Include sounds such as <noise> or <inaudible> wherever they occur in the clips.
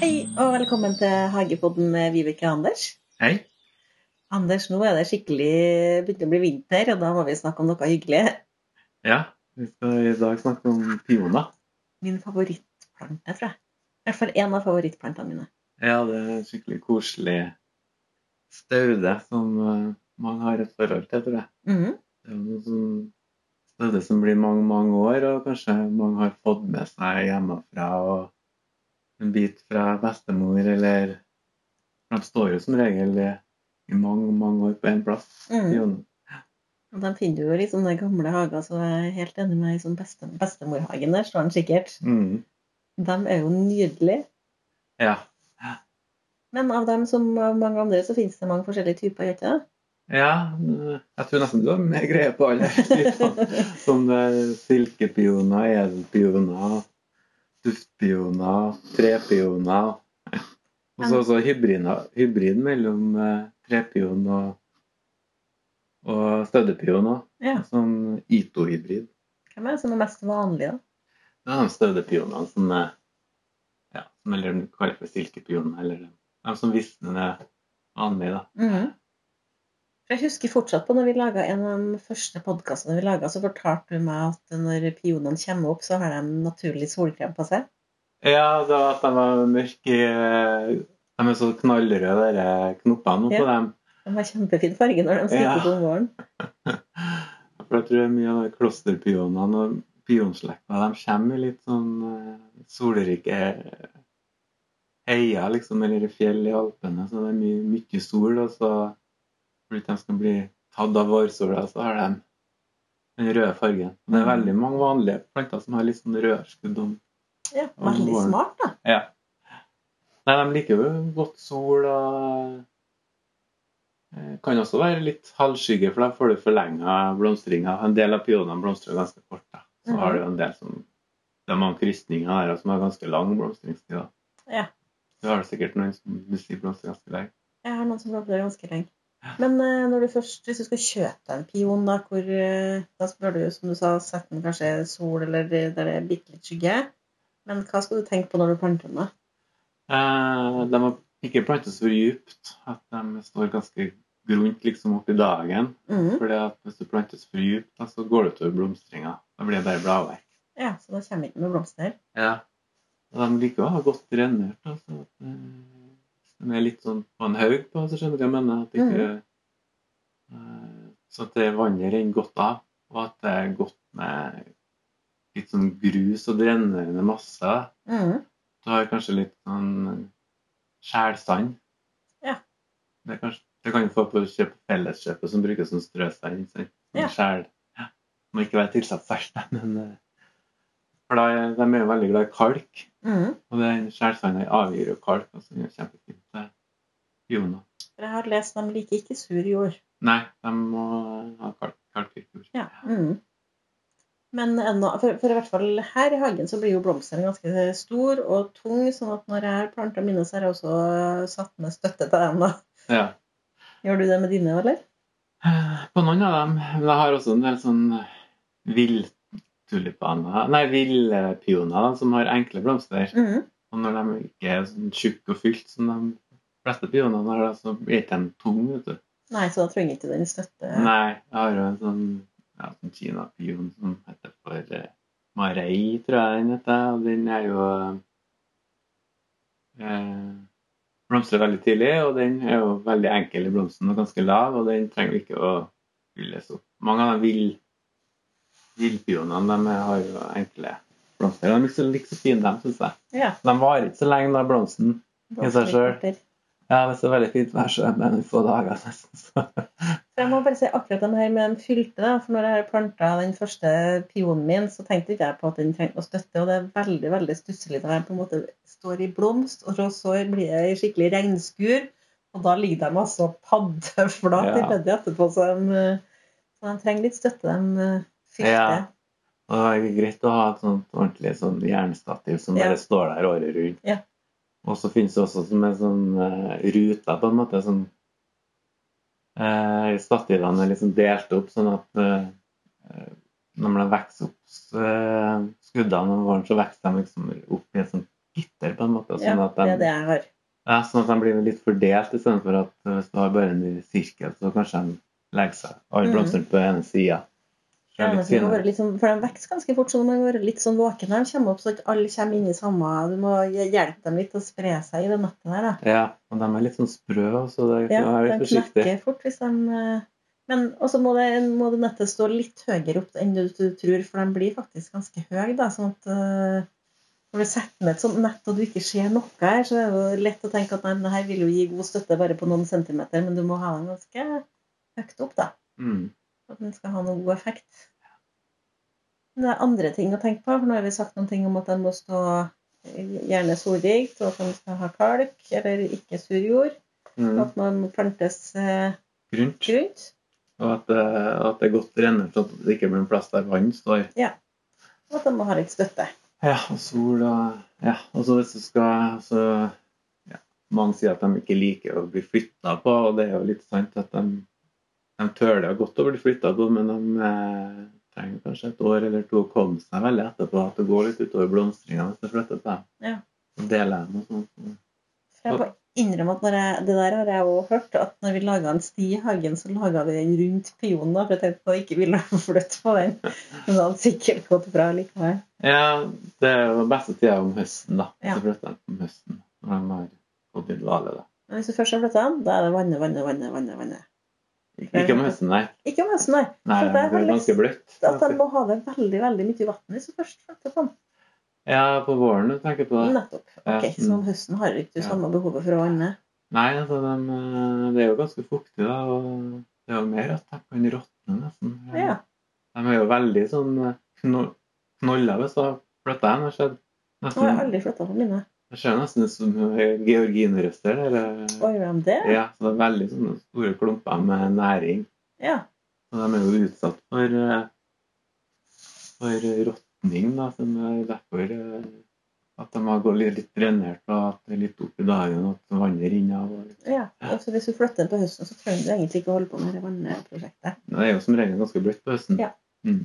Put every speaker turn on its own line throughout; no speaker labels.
Hei, og velkommen til Hagepodden med Vibeke og Anders.
Hei.
Anders, nå er det skikkelig begynt å bli vinter, og da må vi snakke om noe hyggelig.
Ja, vi skal i dag snakke om pioner.
Min favorittplante, tror jeg. I hvert fall en av favorittplantene mine.
Ja, det er en skikkelig koselig staude som eh, mange har et forhold til, tror jeg.
Mhm.
Det er jo noe som staude som blir mange, mange år, og kanskje mange har fått med seg hjemmefra og en bit fra bestemor, eller De står jo som regel i i mange, mange år på én plass.
Mhm.
pioner.
Og De finner du jo liksom den gamle hagen, så jeg er helt enig med deg. Sånn beste, bestemorhagen der står den sikkert.
Mhm.
De er jo nydelige.
Ja.
Men av dem som av mange andre, så finnes det mange forskjellige typer, gjør det
Ja, jeg tror nesten du har mer greie på alle <laughs> typene.
ikke det?
Som det er silkepioner, edelpioner, duftpioner, trepioner. Og så også hybrina- hybrid mellom eh, trepion og, og stødepion. også.
<laughs> Ja.
Sånn Ito-hybrid.
Hvem er det som er mest vanlig, da?
Det er de stødepionene som er ja, som eller de kaller for silkepioner, eller de, de som visner ned vanlig, da.
Mhm. For Jeg husker fortsatt på når vi laget en av de første podkastene vi laget, så fortalte du meg at når pionene kommer opp, så har de naturlig solkrem på seg.
Ja, det var at de var mørke eh, De er så knallrøde, de knoppene på
Ja.
dem.
De har kjempefin farge når de stikker
Ja.
ut om våren.
For jeg tror det er mye av de klosterpionene og pionslekta de kommer i litt sånn eh, solrike heier, liksom, eller i fjell i Alpene. Så det er mye, mye sol, og så for at de skal bli tatt av vårsola, så har de den røde fargen. Og det er veldig mange vanlige planter som har litt sånn rødskudd om
Ja,
Om
Veldig
våren.
smart, da.
Ja. Nei, de liker jo godt sol og eh, kan også være litt halvskygge, for da får du forlenga blomstringa. En del av pionene blomstrer jo ganske kort. da. Så
Mhm.
har du en del som Det er mange krysninger her også som har ganske lang blomstringstid. da.
Ja.
Du har sikkert noen som du sier blomstrer ganske lenge.
Jeg har noen som blomstrer ganske lenge. Men eh, når du først, hvis du skal kjøpe deg en pion, da, hvor, eh, da bør du som du sa, sette den kanskje i sol eller der det er bitte litt skygge. Men hva skal du tenke på når du planter den? da?
Eh, de må ikke plantes for dypt, at de står ganske grunt liksom oppi dagen.
Mhm.
Fordi at hvis du plantes for dypt, da, så går det utover blomstringa. Da blir det bare bladverk.
Ja, Så da kommer vi ikke med blomster.
Ja. Og de liker å ha godt drenert. Altså, at, eh, hvis de er litt sånn på en haug på, så skjønner du hva jeg mener. At det ikke, eh, så at det vannet renner godt av, og at det er godt med litt sånn grus og drenerende masse.
Mhm.
Du har kanskje litt sånn skjælsand.
Ja.
Det, er kanskje, det kan du få på kjøp- felleskjøpet som brukes som strøsand. ikke sant? Som
Ja.
Skjæl. Ja. Må ikke være tilsatt salt, <laughs> men eh, For da er de er jo veldig glad i kalk.
Mhm.
Og den skjælsanda avgir jo kalk, altså, og så gjør det kjempefint til jorden.
For jeg har lest de liker ikke sur jord.
Nei, de må eh, ha kalk, kalkrik jord.
Ja. Mm. Men ennå, for, for i hvert fall her i hagen så blir jo blomstene ganske stor og tung, sånn at når jeg har planta mine, så har jeg også satt med støtte til dem. da.
Ja.
Gjør du det med dine, eller?
Eh, På noen av dem. Men jeg har også en del sånn villtulipaner Nei, villpioner da, som har enkle blomster.
Mm.
Og når de ikke er sånn tjukke og fylt som de fleste pionene har, da, så blir ikke de tunge, vet du.
Nei, så da trenger ikke den støtte.
Nei, jeg har jo en sånn, ja, sånn Kina-pion som heter for eh, Marei, tror jeg den heter. Og den er jo eh, Blomstrer veldig tidlig, og den er jo veldig enkel i blomsten og ganske lav, og den trenger ikke å fylles opp. Mange av de vill- villpionene de har jo enkle blomster. De er ikke så, like så fine, dem, syns jeg.
Ja,
De varer ikke så lenge, da, blomsten. I seg selv.
blomsterkorter.
Ja, det er veldig fint vær, så er det bare noen få dager, nesten. så...
For Jeg må bare si akkurat den her med den fylte, da. For når jeg har planta den første pionen min, så tenkte ikke jeg på at den trengte noe støtte. Og det er veldig veldig stusslig når den på en måte står i blomst, og så blir det i skikkelig regnskur. Og da ligger de altså paddeflat i
Ja.
bedet etterpå, så de, eh, så de trenger litt støtte, de eh, fylte.
Ja. <laughs> Og det er greit å ha et sånt ordentlig sånn jernstativ som
Ja.
bare står der året rundt.
Ja.
Og så finnes det også som en sånn eh, rute, på en måte, sånn eh, stativene er liksom delt opp sånn at eh, når de vokser opp så, eh, skuddene om våren, så vokser de liksom opp i et sånt gitter, på en måte. Sånn
Ja,
at
det
de,
er det jeg har.
Ja, sånn at de blir litt fordelt, istedenfor at eh, hvis du har bare en sirkel, så kanskje de legger seg alle
Mhm.
blomstene på ene sida.
Ja, men så må du være litt sånn- for de vokser ganske fort, så du må være litt sånn våken når de kommer opp, så ikke alle kommer inn i samme Du må hjelpe dem litt til å spre seg i det nettet der, da.
Ja, og de er litt sånn sprø, så det er
Ja,
ja, være litt
de
forsiktig.
knekker fort hvis de eh, Men også må det, må det nettet stå litt høyere opp enn du, du tror, for de blir faktisk ganske høye, da. Sånn at eh, når du setter med et sånt nett og du ikke ser noe her, så er det jo lett å tenke at nei, men det her vil jo gi god støtte bare på noen centimeter, men du må ha den ganske høyt opp, da.
Mm.
at den skal ha noen god effekt. Men det er andre ting å tenke på. for Nå har vi sagt noen ting om at de må stå gjerne solrikt, og at de skal ha kalk eller ikke sur jord. og
Mm.
At man må plantes eh,
Grunt.
grunt.
Og at, det- at det er godt rennet, sånn at det ikke blir en plass der vann står.
Og at de må ha litt støtte.
Ja, og sol og Ja, og så hvis du skal så, ja, Mange sier at de ikke liker å bli flytta på, og det er jo litt sant at de, de tøler jo godt å bli flytta på, men de eh, trenger kanskje et år eller to å komme seg veldig etterpå. At det går litt utover blomstringa hvis du flytter på dem.
Ja.
Og deler dem og sånn.
For jeg må innrømme at når jeg, Det der har jeg også hørt, at når vi laga en sti i hagen, så laga vi den rundt pionen. da, For jeg tenkte at jeg ikke ville flytte på den. <laughs> Men det hadde sikkert gått bra likevel.
Ja, det er jo beste tida om høsten, da.
Ja.
Så flytter de om høsten når de har gått i dvale. da.
Men hvis du først har flytta den, da er det vanne, vanne, vanne, vanne. vanne.
Ikke om høsten, nei.
Ikke om høsten, nei.
Nei,
Så
det
der har
er ganske bløtt.
at de må ha det veldig veldig mye vann hvis du først flytter på den.
Ja, på våren du tenker på det.
Nettopp. Ok,
Ja, mm.
Så om høsten har du ikke
Ja.
samme behovet for å vanne.
Nei, altså, dem, eh, det er jo ganske fuktig, da. Og det er jo mer at de kan råtne, nesten.
Ja.
De er jo veldig sånn eh, kno knolla hvis du har flytta dem. Jeg ser
Nå har jeg
nesten,
aldri flytta på mine.
det ser nesten ut som georginerøster. Eller,
Oi, gjør de det?
ja, så det er veldig sånne store klumper med næring.
Ja.
Og de er jo utsatt for, eh, for råtning, da, som er derfor eh, at de har gått litt drenert, og at det er litt oppi dagen, og at vannet renner av. og-
ja. Altså, hvis du flytter den på høsten, så trenger du egentlig ikke å holde på med det vanneprosjektet.
Det er jo som regel ganske bløtt på høsten.
Ja.
Mm.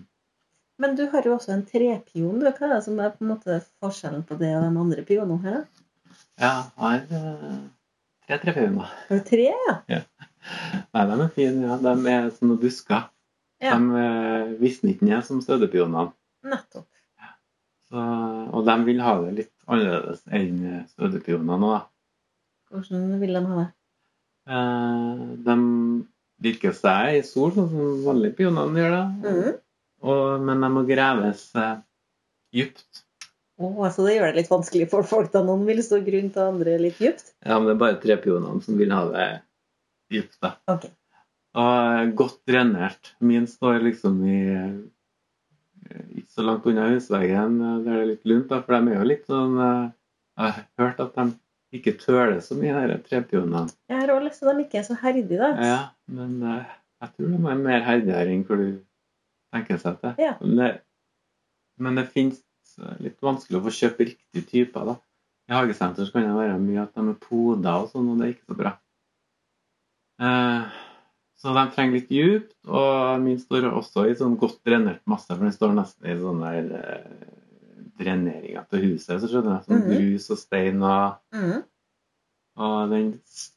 Men du har jo også en trepion. du. Hva er det som er på en måte forskjellen på det og de andre pionene her? da?
Ja, jeg har eh, tre trefauner.
Har du tre? ja?
Nei, de er fine. Ja. De er sånne busker.
Ja.
De eh, visner ikke ned som stødepionene.
Nettopp.
Så, og de vil ha det litt annerledes enn eh, stødepionene. også, Da.
Hvordan vil de ha det?
Eh, de dyrker seg i sol, sånn som vanlige pionene gjør. da.
Mm.
Og, men de må graves eh, dypt.
Å, så det gjør det litt vanskelig for folk, da. Noen vil stå grunt, og andre litt dypt.
Ja, men det er bare trepionene som vil ha det dypt. da.
Ok.
Og Ah, godt drenert. Min står liksom i eh, ikke så langt unna husveggen, eh, der det er litt lunt. da, For de er jo litt sånn eh, Jeg har hørt at de ikke tøler så mye, de trepionene.
Jeg har også lyst til at de ikke er så herdige, da.
Ja, men eh, jeg tror de er mer herdigere enn hvor du tenker seg til.
Ja.
Men det, men det fins litt vanskelig å få kjøpt riktige typer, da. I hagesenter så kan det være mye at de er poda og sånn, og det er ikke så bra. Eh, så de trenger litt djupt, og min står også i sånn godt drenert masse, for den står nesten i sånn der eh, dreneringa til huset, så skjønner jeg. Sånn
Mhm.
grus og stein og
Mhm.
og den s-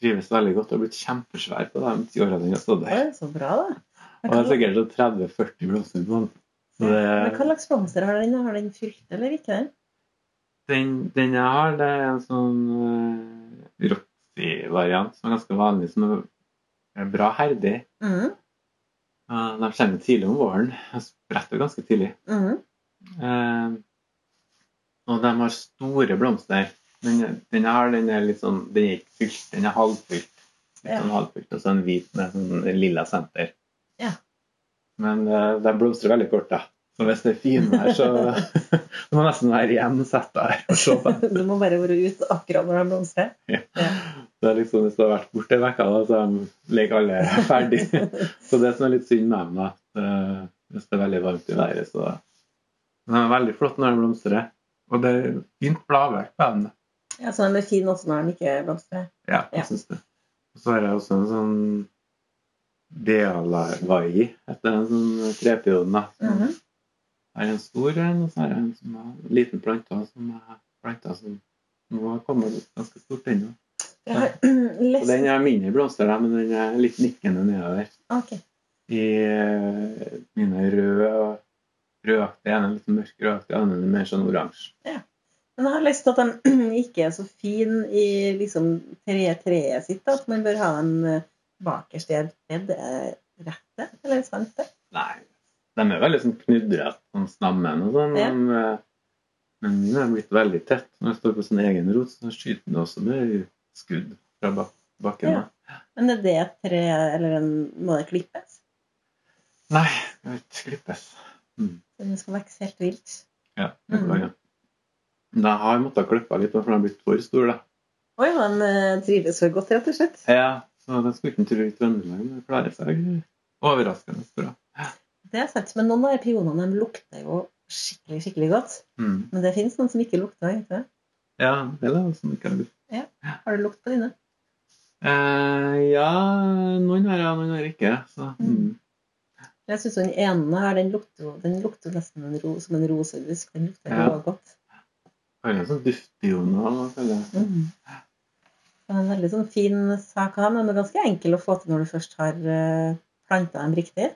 trives veldig godt og har blitt kjempesvær på de ti årene den har stått
Ja,
der.
det er så bra, da.
Og det er sikkert sånn 30-40 blomster på den. Så
Men hva
det,
slags blomster har den? Har den fylt eller ikke? den?
den, den jeg har, det er en sånn uh, Roxy-variant som er ganske vanlig, som er, er bra herdig.
Mhm,
Eh, de kommer tidlig om våren. De spretter ganske tidlig.
mhm.
Eh, og de har store blomster. Den, den jeg har, den er litt sånn Den er ikke fylt, den er halvfylt. Litt
Ja.
sånn halvfylt, Og så en hvit med sånn lilla senter.
Ja.
Men eh, de blomstrer veldig kort, da. Så hvis det er finvær, så
<laughs>
<laughs> Du må nesten være igjen og sette deg her og se på dem.
Du må bare være ute akkurat når den blomstrer.
Det er liksom, Hvis du har vært borte ei uke, da, så er de ligger alle ferdig. Så det som er litt synd med dem, da, at eh, hvis det er veldig varmt i været, så Men de er veldig flotte når de blomstrer. Og det er fint bladverk på dem.
Ja, Så den er fin også når den ikke blomstrer.
Ja, jeg
Ja.
synes det. Og så har jeg også en sånn Dealavai, heter en sånn trepioden. da. som-
Mhm.
Jeg har en stor en, og så har jeg en som er en liten plante også, som er planta som nå har kommet ut ganske stort ennå.
Jeg har
Og
<clears throat> lest
den har mindre blomster, da, men den er litt nikkende nedover.
Ah, Ok.
I eh, mine røde og rødaktige, en er litt mørk rødaktig, en er mer sånn oransje.
Men jeg har lest at de <clears throat> ikke er så fin i liksom tre treet sitt, at man bør ha en eh, bakerst i et bed. Er Rett det, eller sant det?
Nei, de er veldig sånn knudret, sånn snammen og sånn.
Ja.
Men, eh, men mine er blitt veldig tett. Når jeg står på sin egen rot, så skyter den også med skudd fra bak bakken.
Ja.
da.
Men er det et tre, eller en, må det klippes?
Nei, det skal ikke klippes.
Så det skal vokse helt vilt?
Ja, det
Mhm.
går an. Men jeg har måttet klippe litt, for den har blitt for stor. da.
Å ja, de eh, trives for godt, rett og slett.
Ja, så den skulle ikke tro i Trøndelag, men den klarer seg overraskende bra.
Det er sant, men noen av de pionene de lukter jo skikkelig, skikkelig godt.
Mm.
Men det fins noen som ikke lukter. vet du.
Ja, det er det som ikke har blitt.
Har du lukt på dine?
Eh, ja, noen har jeg, noen har jeg ikke. Så.
Mm. Jeg syns den ene her, den lukter, jo- den lukter jo nesten en ro, som en rosebusk. Den lukter
Ja.
jo godt.
Har en sånn duftjoner, føler jeg.
Mm. Det er en veldig sånn fin sak å ha, men den er ganske enkel å få til når du først har eh, planta dem riktig.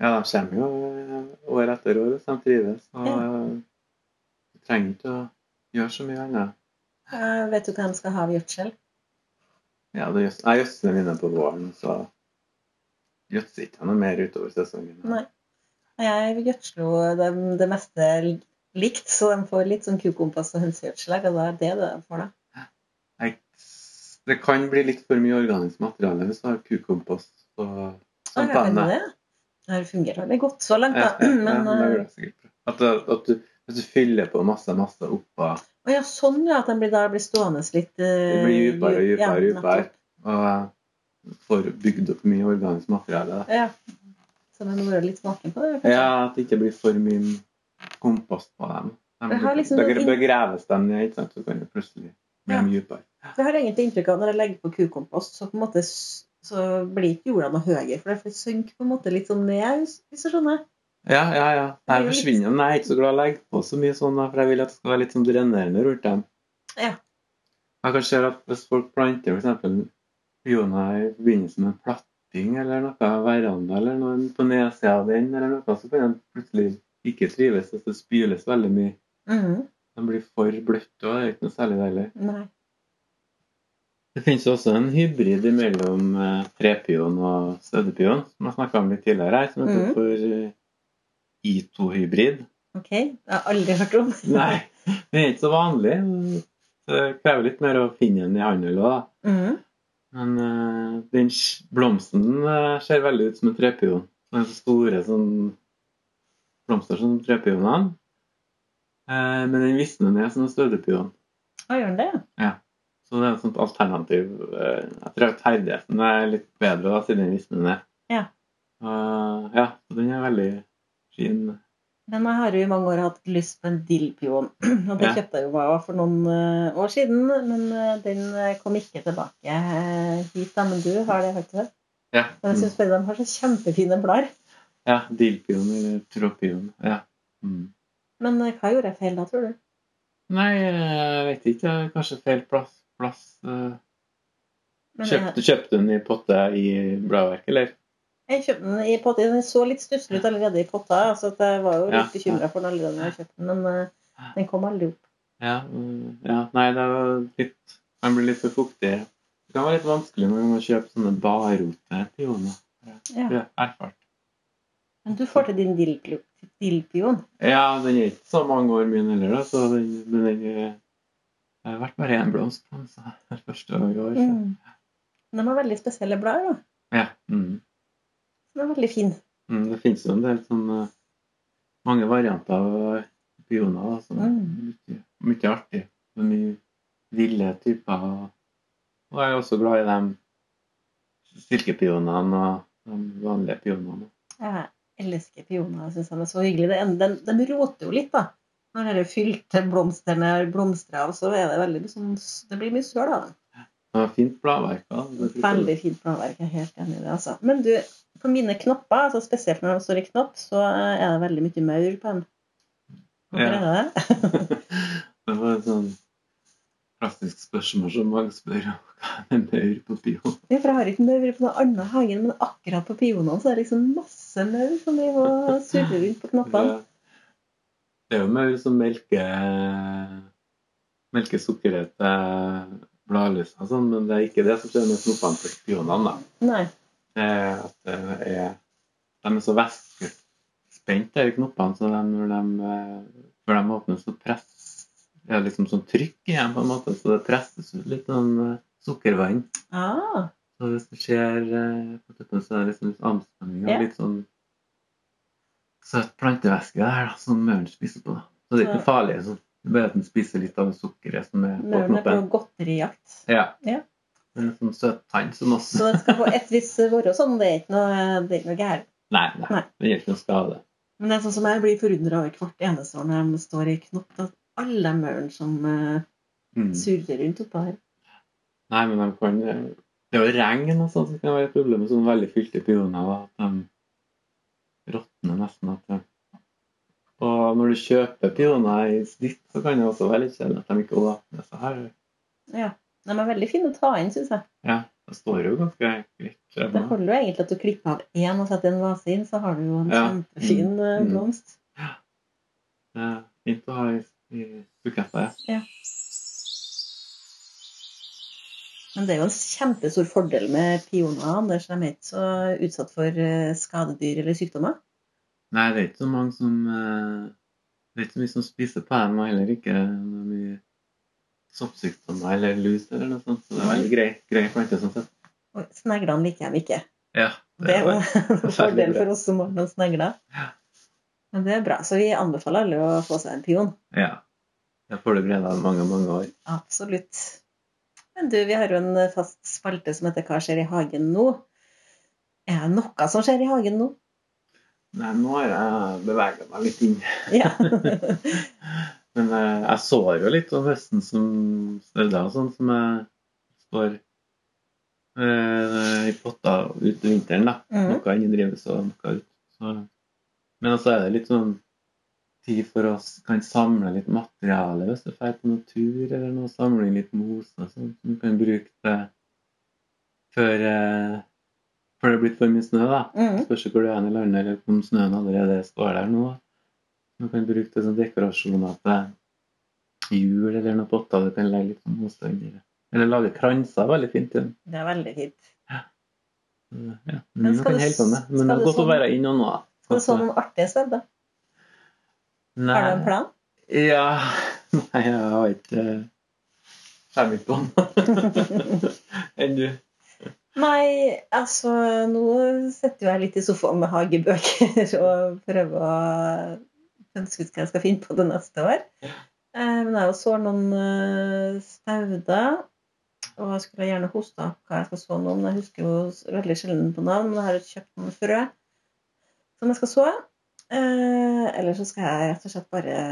Ja, de kommer jo eh, år etter år hvis de trives. Og
Ja.
eh, du trenger ikke å gjøre så mye annet.
Eh, vet du hva de skal ha ved gjødsel?
Ja, det gjøds- Jeg gjødsler mine på våren, så gjødsler ikke jeg noe mer utover sesongen.
Nei. Jeg gjødsler jo dem det meste likt, så de får litt sånn kukompass og hønsegjødsel. her, Og det er det det de får, da.
Jeg, det kan bli litt for mye organisk materiale hvis du har kukompost og
Ja,
sånn
jeg vet det. Det har fungert veldig godt så langt, da. Men
det
eh,
går sikkert bra. At, du- at du, hvis du fyller på masse, masse oppå
å ja, sånn ja, at den blir, da blir stående litt eh,
Det
Det
blir dypere og dypere og dypere. og får bygd opp mye organisk materiale da.
Ja. Så den må være litt vaken på det. kanskje.
Ja, at det ikke blir for mye kompost på dem. De,
Jeg har liksom
begre-
noen inn-
begraves de ned, ikke sant? så kan det plutselig bli
Ja.
dypere.
For Jeg har egentlig inntrykk av at når jeg legger på kukompost, så på en måte s- så blir ikke jorda noe høyere. For det synker på en måte litt sånn ned, hvis- hvis du skjønner.
Ja, ja, ja.
Det blir
Nei,
jo litt-
forsvinner. Nei, jeg er ikke så glad i å legge på så mye sånn, da, for jeg vil at det skal være litt sånn drenerende rundt dem.
Ja.
Jeg kan se at hvis folk planter for eksempel pioner i forbindelse med en platting eller noe, veranda eller noe på nedsida av den, eller noe, så kan de plutselig ikke trives, og så spyles veldig mye.
Mhm.
De blir for bløtt, og det er ikke noe særlig deilig.
Nei.
Det finnes jo også en hybrid mellom eh, trepion og stødepion, som jeg snakka om litt tidligere her, som heter
Mhm.
for eh, I2-hybrid.
Ok, det har jeg aldri hørt om.
<laughs> Nei, det er ikke så vanlig. Så det krever litt mer å finne den i handel òg, da.
Mhm.
Men eh, den sj- blomsten eh, ser veldig ut som en trepion. Den er så store sånn, blomster som trepionene. Eh, men den visner ned som en stødepion.
Hva gjør den det?
Så det er et sånt alternativ. eh, Jeg tror at herdigheten er litt bedre da, siden den visner ned.
Ja.
Eh, ja, så den er veldig fin.
Men jeg har jo i mange år hatt lyst på en dillpion. <clears throat> Og det
Ja.
kjøpte jeg jo meg også for noen eh, år siden. Men eh, den eh, kom ikke tilbake eh, hit. da, Men du har det, vet du.
Ja,
Men jeg
mm.
syns bare de har så kjempefine blader.
ja dillpion eller tråpion. Ja. Mm.
Men eh, hva gjorde jeg feil da, tror du?
Nei, jeg vet ikke. Kanskje feil plass. plass. eh.
Men eh,
Kjøpte,
jeg,
kjøpte den i potte i bladverk, eller?
jeg kjøpte den i potta. Den så litt stusslig ut allerede i potta, så at jeg var jo
Ja.
litt bekymra for den allerede når jeg kjøpte den. Men eh, den kom aldri opp.
Ja. mm, ja. Nei, det var litt, den blir litt for fuktig. Det kan være litt vanskelig når man må kjøpe sånne barroter til Jona.
Ja.
Det er erfart.
Men du får til din dillpio- dillpion.
Ja, den er ikke så mange år min heller, da, så den, men den eh, det har vært bare én blomst på den så <laughs> det er første år i år. Så.
Mm. De har veldig spesielle blader. da.
Ja. Mm.
Den er veldig fin.
Mm, det finnes jo en del sånn eh, mange varianter av eh, pioner da, som er
Mm.
mye, mye artig. Det er mye ville typer. Og, og jeg er også glad i de silkepionene og de vanlige pionene.
Jeg elsker pioner. Jeg syns de er så hyggelige. Det en- De, de roter jo litt, da. Når de fylte blomstene blomstrer av, så er det veldig sånn Det blir mye søl av dem.
Ja, fint bladverk. da. Det er
Veldig fint bladverk. Jeg er helt enig i det. altså. Men du, på mine knopper, altså spesielt når de står i knopp, så er det veldig mye maur på dem. Hvorfor
Ja.
er det <laughs> det?
Det var et sånn klassisk spørsmål som mange spør om. Hva er en maur på bio?
Ja, for jeg har ikke maur på noen annen hage, men akkurat på pionene så er det liksom masse maur som driver og surrer rundt på knoppene.
Det er jo liksom maur som melker melker sukkeret til bladlysa, og sånn, men det er ikke det som skjer med knoppene til spionene. da.
Nei.
Det er at det er, de er så væskespent, de knoppene, så de, når de, eh, før de åpner, så press, det er liksom sånn trykk igjen, på en måte, så det presses ut litt sånn eh, sukkervann.
Ah,
Så hvis det skjer eh, på tuppen, så er det liksom litt avspenning og
Ja.
litt sånn søt plantevæske der da, som mauren spiser på. da. Så det er ikke farlig. Så det er bare at den spiser litt av det sukkeret som er på
mauren er på
knoppen.
godterijakt.
Ja.
Ja.
Det er en sånn søt tann som også
Så den skal på et vis være sånn. Det er ikke noe, det er ikke noe gærent.
Nei, nei.
Nei.
Det gjør ikke noe skade.
Men det er sånn som jeg blir forundra over hvert eneste år når de står i knopp. At alle de maurene som eh,
Mm.
surrer rundt oppå her.
Nei, men de kan eh, Det er jo regn og sånn som kan være et problem med sånne veldig fylte pioner. da, At de råtner nesten. At de... Og når du kjøper pioner i snitt, så kan det også være litt kjedelig at de ikke åpner seg her.
Ja. De er veldig fine å ta inn, syns jeg.
Ja, det står jo ganske greit. fremme.
Det holder jo egentlig at du klipper av én og setter en vase inn, så har du jo en
Ja.
kjempefin eh,
Mm.
blomst.
Det er fint å ha i, i buketta. Ja.
Men det er jo en kjempestor fordel med pioner, Anders. De er ikke så utsatt for eh, skadedyr eller sykdommer.
Nei, det er ikke så mange som eh, Det er ikke så mye som spiser på dem, og heller ikke noe mye soppsykdommer eller lus eller noe sånt. Så det er veldig grei, grei plante sånn sett.
Og sneglene liker jeg ikke.
Ja,
Det er jo <laughs> en
veldig
fordel
bra.
for oss som har noen snegler.
Ja.
Men det er bra. Så vi anbefaler alle å få seg en pion.
Ja. Jeg får det glede av mange, mange år.
Absolutt. Men du, vi har jo en eh, fast spalte som heter 'Hva skjer i hagen nå?' Er det noe som skjer i hagen nå?
Nei, nå har jeg beveget meg litt inn. <laughs>
Ja. <laughs>
Men eh, jeg sår jo litt om høsten som snødde og sånn, som jeg står eh, i potta ut vinteren, da.
Mhm.
Noe inni drives og noe ut. Så. Men altså er det litt sånn tid for å s- kan samle litt materiale hvis du drar på noen tur eller noe, samle inn litt mos og sånn, som du kan bruke til før, eh, før det er blitt for mye snø, da.
Mhm.
Spørs ikke hvor du er i landet, eller om snøen allerede står der nå. Du kan bruke det som dekorasjoner til jul eller noen potter. Du kan legge litt sånn mos under. Eller lage kranser veldig fint. igjen.
Det er veldig fint.
Ja,
Men
men
skal
skal
du-
helt sånn det. Men
skal
det
du
er godt å
sånn-
være inn og nå.
Skal du så noen artige steder? Har du en plan?
Ja <laughs> Nei, jeg har ikke Kommer ikke på
<laughs>
den. Enn du?
Nei, altså nå sitter jo jeg litt i sofaen med hagebøker og prøver å ønske ut hva jeg skal finne på det neste år. Eh, Men jeg har jo sår noen eh, stauder, og jeg skulle gjerne hosta opp hva jeg skal så nå, men jeg husker jo s- veldig sjelden på navn. Men jeg har jo kjøpt noen frø som jeg skal så. Eh, Eller så skal jeg rett og slett bare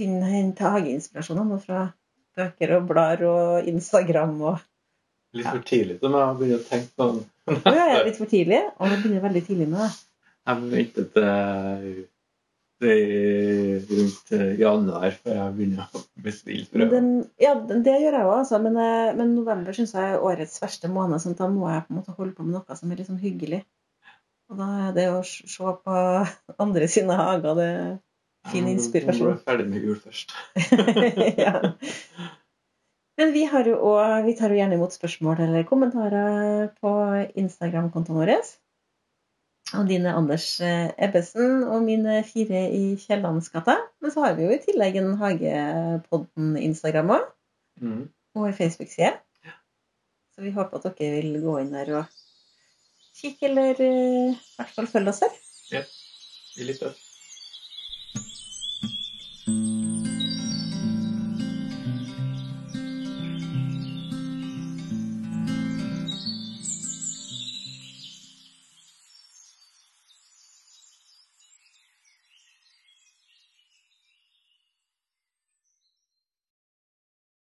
finne hente hageinspirasjoner nå fra bøker og blader og Instagram og
Litt for tidlig til meg å begynne å tenke på den.
Å ja, jeg er litt for tidlig. Å, det begynner veldig tidlig med det.
Jeg venter til det er rundt eh, januar før jeg begynner å bestille
Men
prøver.
Den, ja, den- det gjør jeg òg, altså. Men, eh, men november syns jeg er årets verste måned, så da må jeg på en måte holde på med noe som er litt sånn hyggelig. Og da er det å s- se på <laughs> andre sine hager, det fin
Nå må
inspirasjon.
du være ferdig med jul først.
<laughs> ja. Men vi, har jo også, vi tar jo gjerne imot spørsmål eller kommentarer på Instagram-kontoen vår. Og din er Anders eh, Ebbesen, og min er Fire i Kiellandsgata. Men så har vi jo i tillegg en Hagepodden-Instagram òg.
Mm.
og ei Facebook-side. Så vi håper at dere vil gå inn der og kikke, eller eh, i hvert fall følge oss der.
Blir litt tøft.